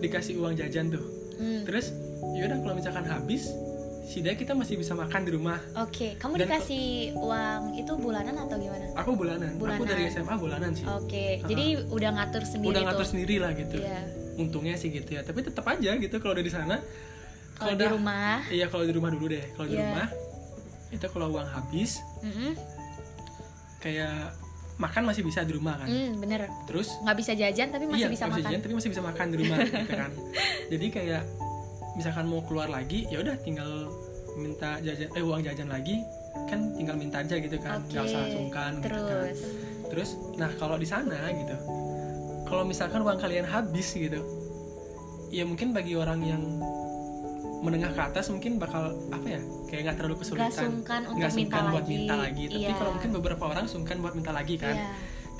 dikasih uang jajan tuh
Hmm,
terus yaudah kalau misalkan habis sidai kita masih bisa makan di rumah
Oke, kamu
Dan
dikasih uang itu bulanan atau gimana?
aku bulanan, aku
Bulanan.
dari SMA bulanan sih
Oke,
Ha-ha.
jadi udah ngatur sendiri
Ah. udah ngatur
tuh.
sendiri lah gitu
Iya.
untungnya sih gitu ya tapi tetap aja gitu kalau udah di sana
Kalau di
udah-
rumah,
iya kalau di rumah dulu deh kalau di
Iya.
rumah itu kalau uang habis
mm-mm,
kayak makan masih bisa di rumah kan
mm, bener
terus
nggak bisa jajan tapi masih
iya,
bisa
nggak
makan.
jajan, tapi masih bisa makan di rumah gitu kan jadi kayak misalkan mau keluar lagi ya udah tinggal minta jajan eh uang jajan lagi kan tinggal minta aja gitu kan
Oke.
nggak usah sungkan gitu kan
Terus,
terus nah kalau di sana gitu kalau misalkan uang kalian habis gitu ya mungkin bagi orang yang menengah ke atas mungkin bakal apa ya kayak nggak terlalu
nggak
kesulitan
sungkan untuk
nggak
minta
sungkan
lagi.
buat minta lagi tapi
Iya.
kalau mungkin beberapa orang sungkan buat minta lagi kan
Iya.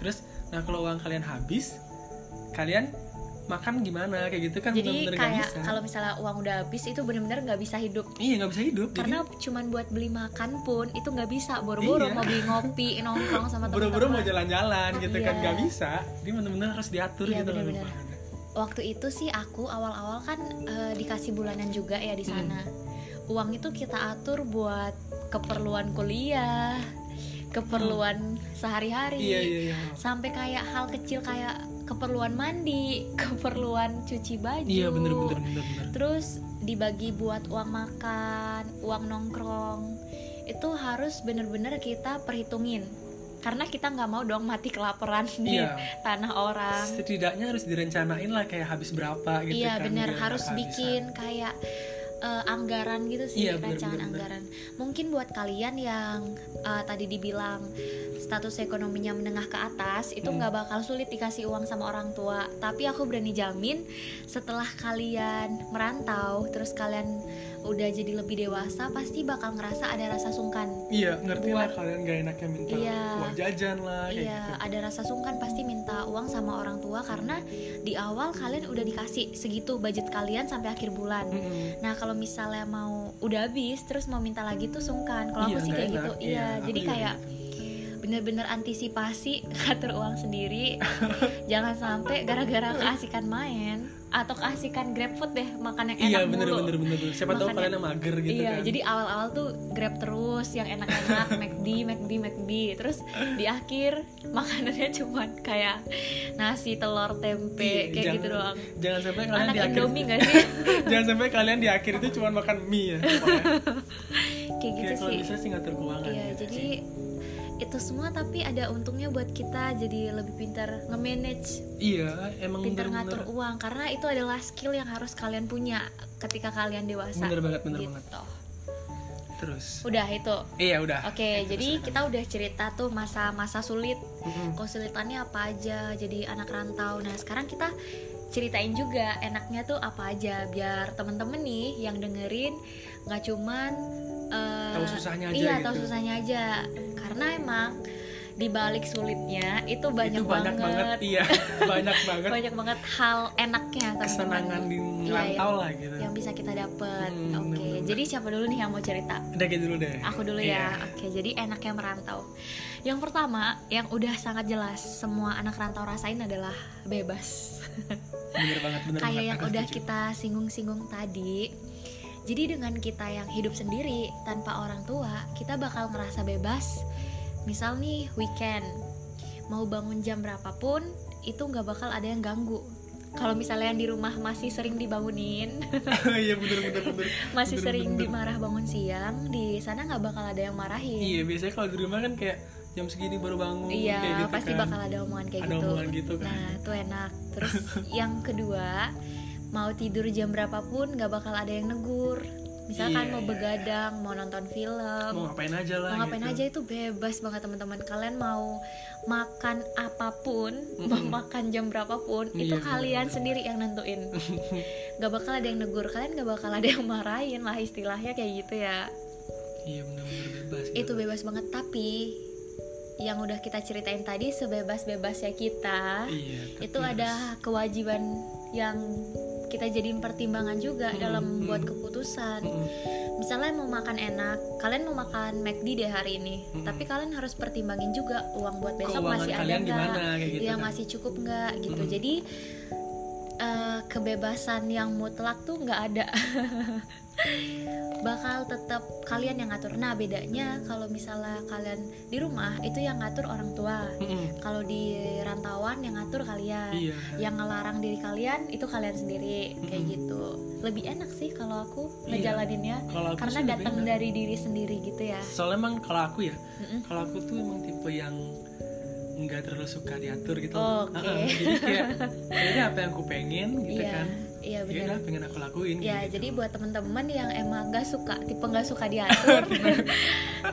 Terus, nah kalau uang kalian habis, kalian makan gimana kayak gitu kan
Jadi
bener-bener nggak
kayak
bisa.
kalau misalnya uang udah habis itu bener-bener nggak bisa hidup.
Iya nggak bisa hidup.
Karena cuman buat beli makan pun itu nggak bisa. Boro-boro
Iya.
mau beli ngopi, nongkrong sama
jadi
teman-teman.
buru-buru mau jalan-jalan gitu kan
Iya.
nggak bisa. Jadi bener-bener harus diatur
Iya,
gitu loh
bener-bener.
rumahnya.
waktu itu sih aku awal-awal kan eh, dikasih bulanan juga ya
Hmm.
di sana. Uang itu kita atur buat keperluan kuliah, keperluan sehari-hari,
Iya iya iya.
sampai kayak hal kecil kayak keperluan mandi, keperluan cuci baju.
Iya bener-bener bener-bener.
Terus dibagi buat uang makan, uang nongkrong, itu harus bener-bener kita perhitungin. Karena kita nggak mau dong mati kelaparan di
Iya.
tanah orang.
Setidaknya harus direncanain lah kayak habis berapa gitu
Iya
kan.
benar
biar
harus
nggak kehabisan.
bikin kayak eh, anggaran gitu sih
Iya, bener,
rancangan
bener, bener.
anggaran. Mungkin buat kalian yang eh, tadi dibilang status ekonominya menengah ke atas itu
Hmm.
nggak bakal sulit dikasih uang sama orang tua. Tapi aku berani jamin setelah kalian merantau terus kalian udah jadi lebih dewasa pasti bakal ngerasa ada rasa sungkan.
Iya ngerti lah
buat-
kalian gak enaknya minta
Iya.
uang jajan lah kayak
Iya,
gitu.
ada rasa sungkan pasti minta uang sama orang tua karena di awal kalian udah dikasih segitu budget kalian sampai akhir bulan.
Mm-mm.
Nah kalau misalnya mau udah habis terus mau minta lagi tuh sungkan. Kalau aku
Iya,
sih
nggak
kayak
enak.
gitu, iya.
aku
Jadi
juga
kayak
gitu.
bener-bener antisipasi ngatur uang sendiri. Jangan sampai gara-gara keasikan main atau keasikan GrabFood deh makan yang
Iya
enak
bener
mulu.
bener bener bener. Siapa tahu
Makanya-
kalian yang mager gitu
iya,
kan.
jadi awal-awal tuh grab terus yang enak-enak, McD, McD, McD. Terus di akhir makanannya cuman kayak nasi, telur, tempe,
Iya,
kayak gitu
jangan-
doang.
Jangan sampai kalian
Anak
di akhir
Indomie gak sih?
jangan sampai kalian di akhir itu cuma makan mie ya.
kayak gitu Iya
Kayak kalau
sih.
bisa sih ngatur keuangan
Iya,
gitu
jadi
sih.
itu semua tapi ada untungnya buat kita jadi lebih pintar nge-manage,
Iya, emang
pintar
bener-bener
ngatur uang karena itu adalah skill yang harus kalian punya ketika kalian dewasa.
Bener banget, bener
Gitu.
banget. Terus.
Udah itu.
Iya, udah.
Oke, jadi kita udah cerita tuh masa-masa sulit,
Mm-mm.
kesulitannya apa aja jadi anak rantau. Nah, sekarang kita ceritain juga enaknya tuh apa aja biar temen-temen nih yang dengerin nggak cuman eh,
Tahu susahnya aja
iya
gitu.
tahu susahnya aja karena emang di balik sulitnya itu banyak,
itu banyak banget, iya banyak banget
banyak banget hal enaknya teman-teman.
kesenangan di ngerantau lah gitu
Iya, yang bisa kita dapet.
Hmm,
Oke,
bener-bener.
jadi siapa dulu nih yang mau cerita?
udah gitu dulu deh
Aku dulu
Iya.
ya. Oke, jadi enaknya merantau. Yang pertama, yang udah sangat jelas semua anak rantau rasain adalah bebas.
bener banget
Kayak
bener banget
yang
aku
udah
setuju.
kita singgung-singgung tadi. Jadi dengan kita yang hidup sendiri tanpa orang tua, kita bakal ngerasa bebas. Misal nih weekend, mau bangun jam berapapun, itu nggak bakal ada yang ganggu. Kalau misalnya yang di rumah masih sering dibangunin,
iya bener bener bener
masih
Bener,
sering
bener.
dimarah bangun siang di sana nggak bakal ada yang marahin
iya biasanya kalau di rumah kan kayak jam segini baru bangun
Iya,
kayak gitu
pasti
kan.
bakal ada omongan kayak
Ada
gitu
omongan gitu kan.
nah itu enak terus yang kedua mau tidur jam berapapun nggak bakal ada yang negur misalkan
Iya,
mau
iya.
begadang mau nonton film
mau ngapain aja lah
mau ngapain
gitu.
aja itu bebas banget teman-teman kalian mau makan apapun mau
Mm-mm.
makan jam berapapun
Iya,
itu
bener,
kalian
bener.
sendiri yang nentuin nggak bakal ada yang negur kalian nggak bakal ada yang marahin lah istilahnya kayak gitu ya
iya bener bener bebas gitu.
itu bebas banget tapi yang udah kita ceritain tadi sebebas-bebasnya kita
iya tapi
itu ada kewajiban yang kita jadiin pertimbangan juga
Mm-mm,
dalam
mm-mm.
buat
harus-
keputusan
Mm-mm.
misalnya mau makan enak kalian mau makan McD deh hari ini
Mm-mm.
tapi kalian harus pertimbangin juga uang buat besok
Hmm. Keuangan
masih ada
kalian
nggak
gimana kayak gitu
ya
kan. Hmm.
masih cukup nggak gitu
Mm-mm.
jadi eh, kebebasan yang mutlak tuh nggak ada bakal tetap kalian yang ngatur nah bedanya kalau misalnya kalian di rumah itu yang ngatur orang tua
Mm-mm.
kalau di rantauan yang ngatur kalian
iya
yang ngelarang diri kalian itu kalian sendiri kayak
Mm-mm.
gitu lebih enak sih kalau aku
Hmm. Iya.
ngejalaninnya
kalau aku
karena
sih lebih
datang
enak.
dari diri sendiri gitu ya
soalnya emang kalau aku ya
Mm-mm.
kalau aku tuh emang tipe yang nggak terlalu suka diatur gitu
Oke.
Heeh, jadi kayak kayaknya apa yang aku pengen gitu
iya
kan
iya
ya
benar
udah pengen aku lakuin
Ya,
gitu.
jadi buat temen-temen yang emang gak suka, tipe gak suka diatur,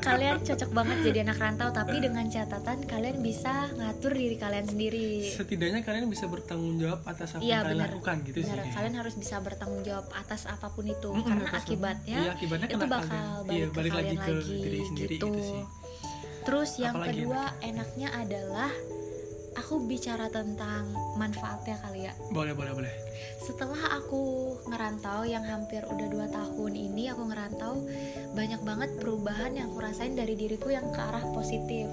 kalian cocok banget jadi anak rantau. Tapi
Nah.
dengan catatan kalian bisa ngatur diri kalian sendiri.
setidaknya kalian bisa bertanggung jawab atas apa
Iya,
yang kalian
benar.
lakukan gitu sih
Benar,
kayak.
kalian ya, harus bisa bertanggung jawab atas apapun itu,
Mm-mm,
karena
atas-
akibatnya
iya, akibatnya
itu
kena
bakal
kalian.
balik,
Iya,
ke
balik
kalian
lagi
lagi,
ke diri sendiri
gitu.
gitu sih.
Terus yang
Apalagi
kedua enaknya adalah aku bicara tentang manfaatnya kali ya.
boleh boleh boleh
setelah aku ngerantau yang hampir udah 2 tahun ini aku ngerantau banyak banget perubahan yang aku rasain dari diriku yang ke arah positif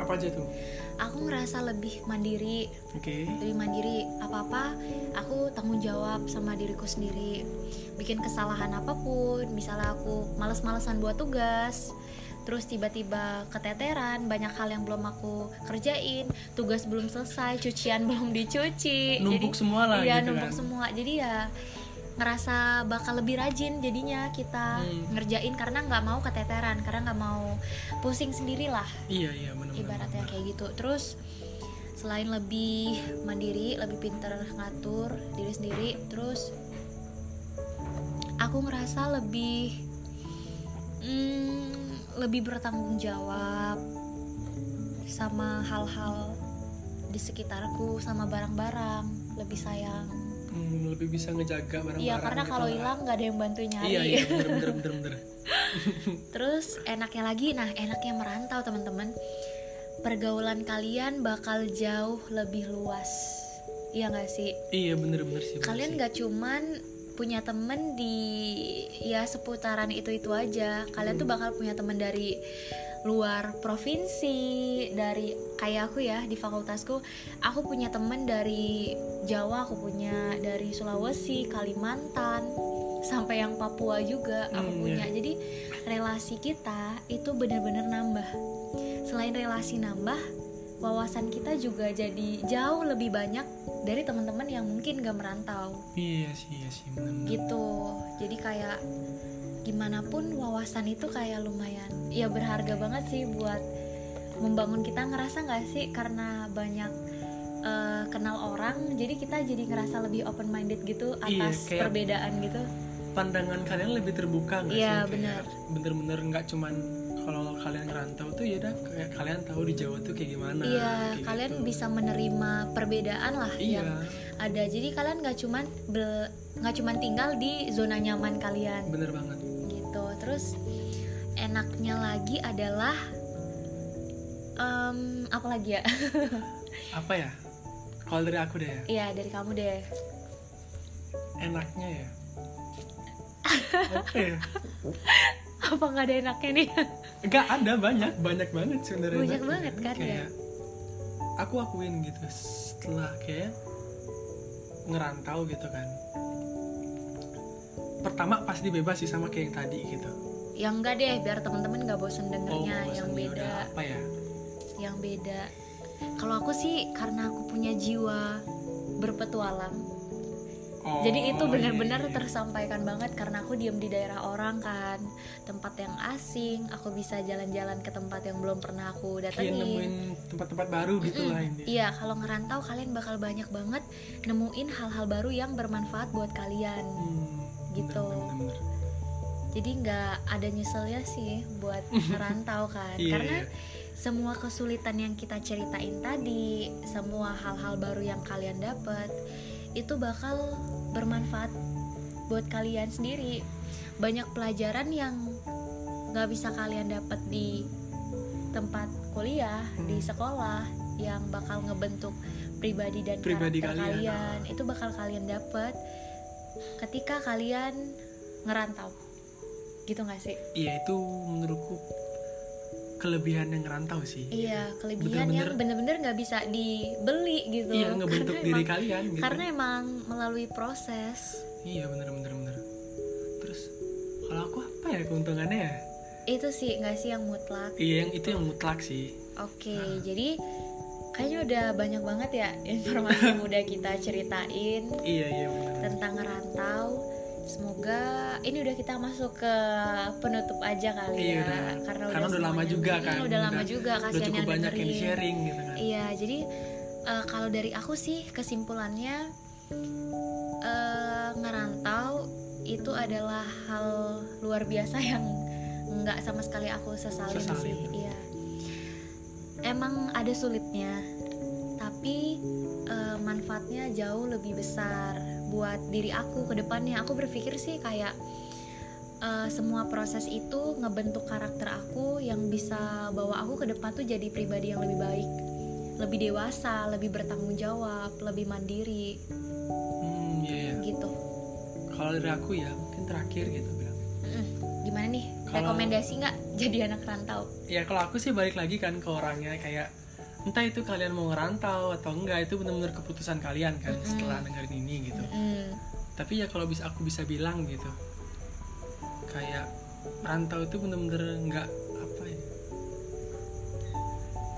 apa aja tuh
aku ngerasa lebih mandiri
oke
lebih mandiri apa-apa aku tanggung jawab sama diriku sendiri bikin kesalahan apapun misalnya aku males-malesan buat tugas terus tiba-tiba keteteran banyak hal yang belum aku kerjain tugas belum selesai cucian belum dicuci
numpuk
Jadi-
semua lah
iya
gitu
numpuk
kan
semua jadi ya ngerasa bakal lebih rajin jadinya kita
Hmm.
ngerjain karena nggak mau keteteran karena nggak mau pusing sendirilah
iya iya benar
ibaratnya kayak gitu terus selain lebih mandiri lebih pinter ngatur diri sendiri terus aku ngerasa lebih mm, lebih bertanggung jawab sama hal-hal di sekitarku sama barang-barang lebih sayang
Hmm, lebih bisa ngejaga barang-barang
iya karena
gitu
kalau
lah.
hilang nggak ada yang bantu nyari
iya iya bener bener bener bener
Terus enaknya lagi, nah enaknya merantau teman-teman Pergaulan kalian bakal jauh lebih luas Iya gak sih?
iya bener bener sih bener
Kalian
sih.
gak cuman punya temen di ya seputaran itu-itu aja Kalian
Hmm.
tuh bakal punya temen dari luar provinsi Dari kayak aku ya di fakultasku Aku punya temen dari Jawa, aku punya dari Sulawesi, Kalimantan Sampai yang Papua juga aku
Hmm,
punya
iya.
jadi relasi kita itu benar-benar nambah. Selain relasi nambah, wawasan kita juga jadi jauh lebih banyak dari teman-teman yang mungkin gak merantau
iya sih iya sih bener bener
gitu. Jadi kayak gimana pun wawasan itu kayak lumayan ya berharga banget sih buat membangun kita ngerasa nggak sih karena banyak eh, kenal orang jadi kita jadi ngerasa lebih open minded gitu
Iya,
atas
kayak-
perbedaan gitu
pandangan kalian lebih terbuka nggak
Iya,
sih? Kayak
benar.
Bener-bener nggak cuman kalau kalian ngerantau tuh ya udah kayak kalian tahu di Jawa tuh kayak gimana.
Iya,
kayak
kalian
gitu.
bisa menerima perbedaan lah
Iya,
yang ada. Jadi kalian nggak cuman bel- nggak cuman tinggal di zona nyaman kalian
bener banget.
gitu. Terus enaknya lagi adalah Em, apa lagi ya?
apa ya kalau dari aku deh ya
Iya dari kamu deh.
enaknya ya apa ya
Apa nggak ada enaknya nih?
Enggak ada banyak, banyak banget sebenarnya.
Banyak
enaknya.
banget kan,
Kayak aku akuin gitu setelah kayak ngerantau gitu kan. Pertama pasti bebas sih sama kayak yang tadi gitu.
yang enggak Ya deh biar temen-temen nggak bosen dengernya
bosan
yang
ya
beda.
udah apa ya?
yang beda. Kalau aku sih karena aku punya jiwa berpetualang.
Oh,
Jadi itu
iya,
benar-benar
iya, iya.
tersampaikan banget karena aku diem di daerah orang kan, tempat yang asing, aku bisa jalan-jalan ke tempat yang belum pernah aku
kayak
datangi.
Iya, nemuin tempat-tempat baru gitu lah ini.
Iya, kalau ngerantau kalian bakal banyak banget nemuin hal-hal baru yang bermanfaat buat
Hmm.
kalian. Gitu. Jadi nggak ada nyeselnya sih buat ngerantau kan,
Iya,
karena
iya.
semua kesulitan yang kita ceritain tadi, semua hal-hal baru yang kalian dapat itu bakal bermanfaat buat kalian sendiri. Banyak pelajaran yang nggak bisa kalian dapat di tempat kuliah,
Hmm.
di sekolah yang bakal ngebentuk pribadi dan
Pribadi
karakter
kalian,
kalian. Itu bakal kalian dapat ketika kalian ngerantau. Gitu nggak sih?
Iya itu menurutku kelebihan yang ngerantau sih.
Iya, kelebihan yang bener-bener nggak bisa dibeli gitu.
Iya ngebentuk
Karena
diri
emang-
kalian gitu.
Karena emang melalui proses
Iya bener bener bener Terus kalau aku apa ya keuntungannya ya?
itu sih nggak sih yang mutlak.
Iya yang itu yang mutlak sih
Oke,
Ah.
jadi kayaknya udah banyak banget ya informasi yang udah kita ceritain
Iya iya bener
tentang ngerantau. Semoga ini udah kita masuk ke penutup aja kali ya,
Iya, udah.
karena
Karena udah lama
semuanya-
juga
Hmm,
kan,
Udah lama
udah-
juga
Udah
kasihan
cukup
yang
banyak yang di
dengerin.
sharing gitu kan
Iya, jadi eh, kalau dari aku sih kesimpulannya eh, ngerantau itu adalah hal luar biasa yang nggak sama sekali aku sesalin, sih.
Sesalin.
Iya. Emang ada sulitnya, tapi eh, manfaatnya jauh lebih besar buat diri aku ke depannya. Aku berpikir sih kayak eh, semua proses itu ngebentuk karakter aku yang bisa bawa aku ke depan tuh jadi pribadi yang lebih baik, lebih dewasa, lebih bertanggung jawab, lebih mandiri
Hmm iya iya
gitu.
Kalau dari aku ya mungkin terakhir gitu bilang
Mm, Gimana nih?
Kalau-
Rekomendasi nggak jadi anak rantau?
Ya kalau aku sih balik lagi kan ke orangnya kayak Entah itu kalian mau ngerantau atau enggak Itu bener-bener keputusan kalian kan
Mm-mm.
setelah dengerin ini gitu
Mm,
tapi ya kalau bisa aku bisa bilang gitu kayak rantau itu bener-bener nggak apa ya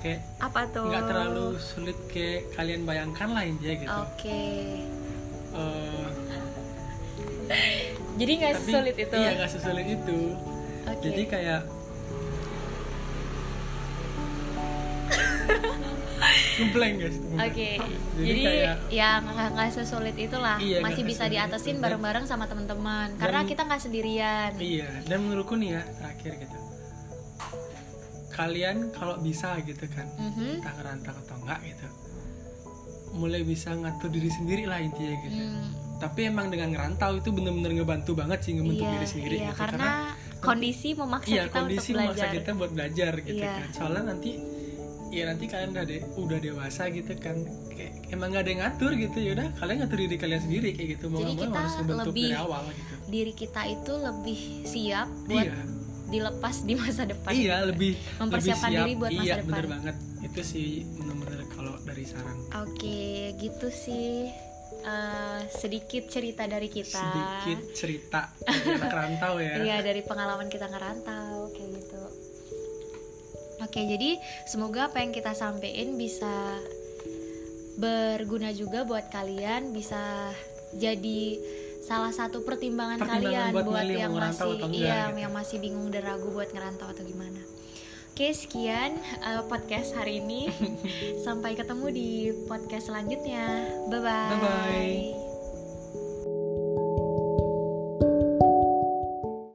kayak
Apa tuh?
nggak terlalu gitu. sulit kayak kalian bayangkan lah aja gitu
Oke.
Eh,
Jadi nggak
tapi
sulit itu.
iya nggak sesulit itu
Oke.
jadi kayak ngeblank guys
Oke,
ngeblank.
jadi,
Jadi kayak-
ya nggak nggak sesulit itulah,
Iya,
masih
nggak
bisa
sesulit
diatasin
itu.
bareng-bareng sama teman-teman. Karena
Dan-
kita nggak sendirian.
Iya, dan menurutku nih ya terakhir gitu. Kalian kalau bisa gitu kan,
Mhm.
entah ngerantau atau enggak gitu, mulai bisa ngatur diri sendiri lah intinya gitu.
Hmm,
Tapi emang dengan ngerantau itu bener-bener ngebantu banget sih ngebentuk
iya,
diri sendiri
iya,
gitu.
karena kondisi memaksa
iya
kita
kondisi
untuk
memaksa
belajar.
kita buat belajar gitu
Iya.
kan. Soalnya nanti ya nanti kalian udah de- udah dewasa gitu kan kayak emang gak ada yang ngatur gitu ya udah kalian ngatur diri kalian sendiri kayak gitu mau
Jadi
nggak
kita
mau harus ngebentuk
lebih-
dari awal gitu
Diri kita itu lebih siap buat
iya
dilepas di masa depan.
Iya lebih
Mempersiapkan
lebih siap.
diri buat masa
iya,
depan.
bener banget itu sih bener-bener kalau dari saran
Oke, gitu sih eh, sedikit cerita dari kita.
sedikit cerita dari anak rantau ya
Iya dari pengalaman kita ngerantau kayak gitu. Oke jadi semoga apa yang kita sampein bisa berguna juga buat kalian bisa jadi salah satu pertimbangan,
Pertimbangan
kalian
buat
buat,
milih
yang
mau ngerantau
masih
atau enggak,
iya
gitu.
yang masih bingung dan ragu buat ngerantau atau gimana. Oke sekian eh, podcast hari ini sampai ketemu di podcast selanjutnya. Bye bye.
Bye-bye.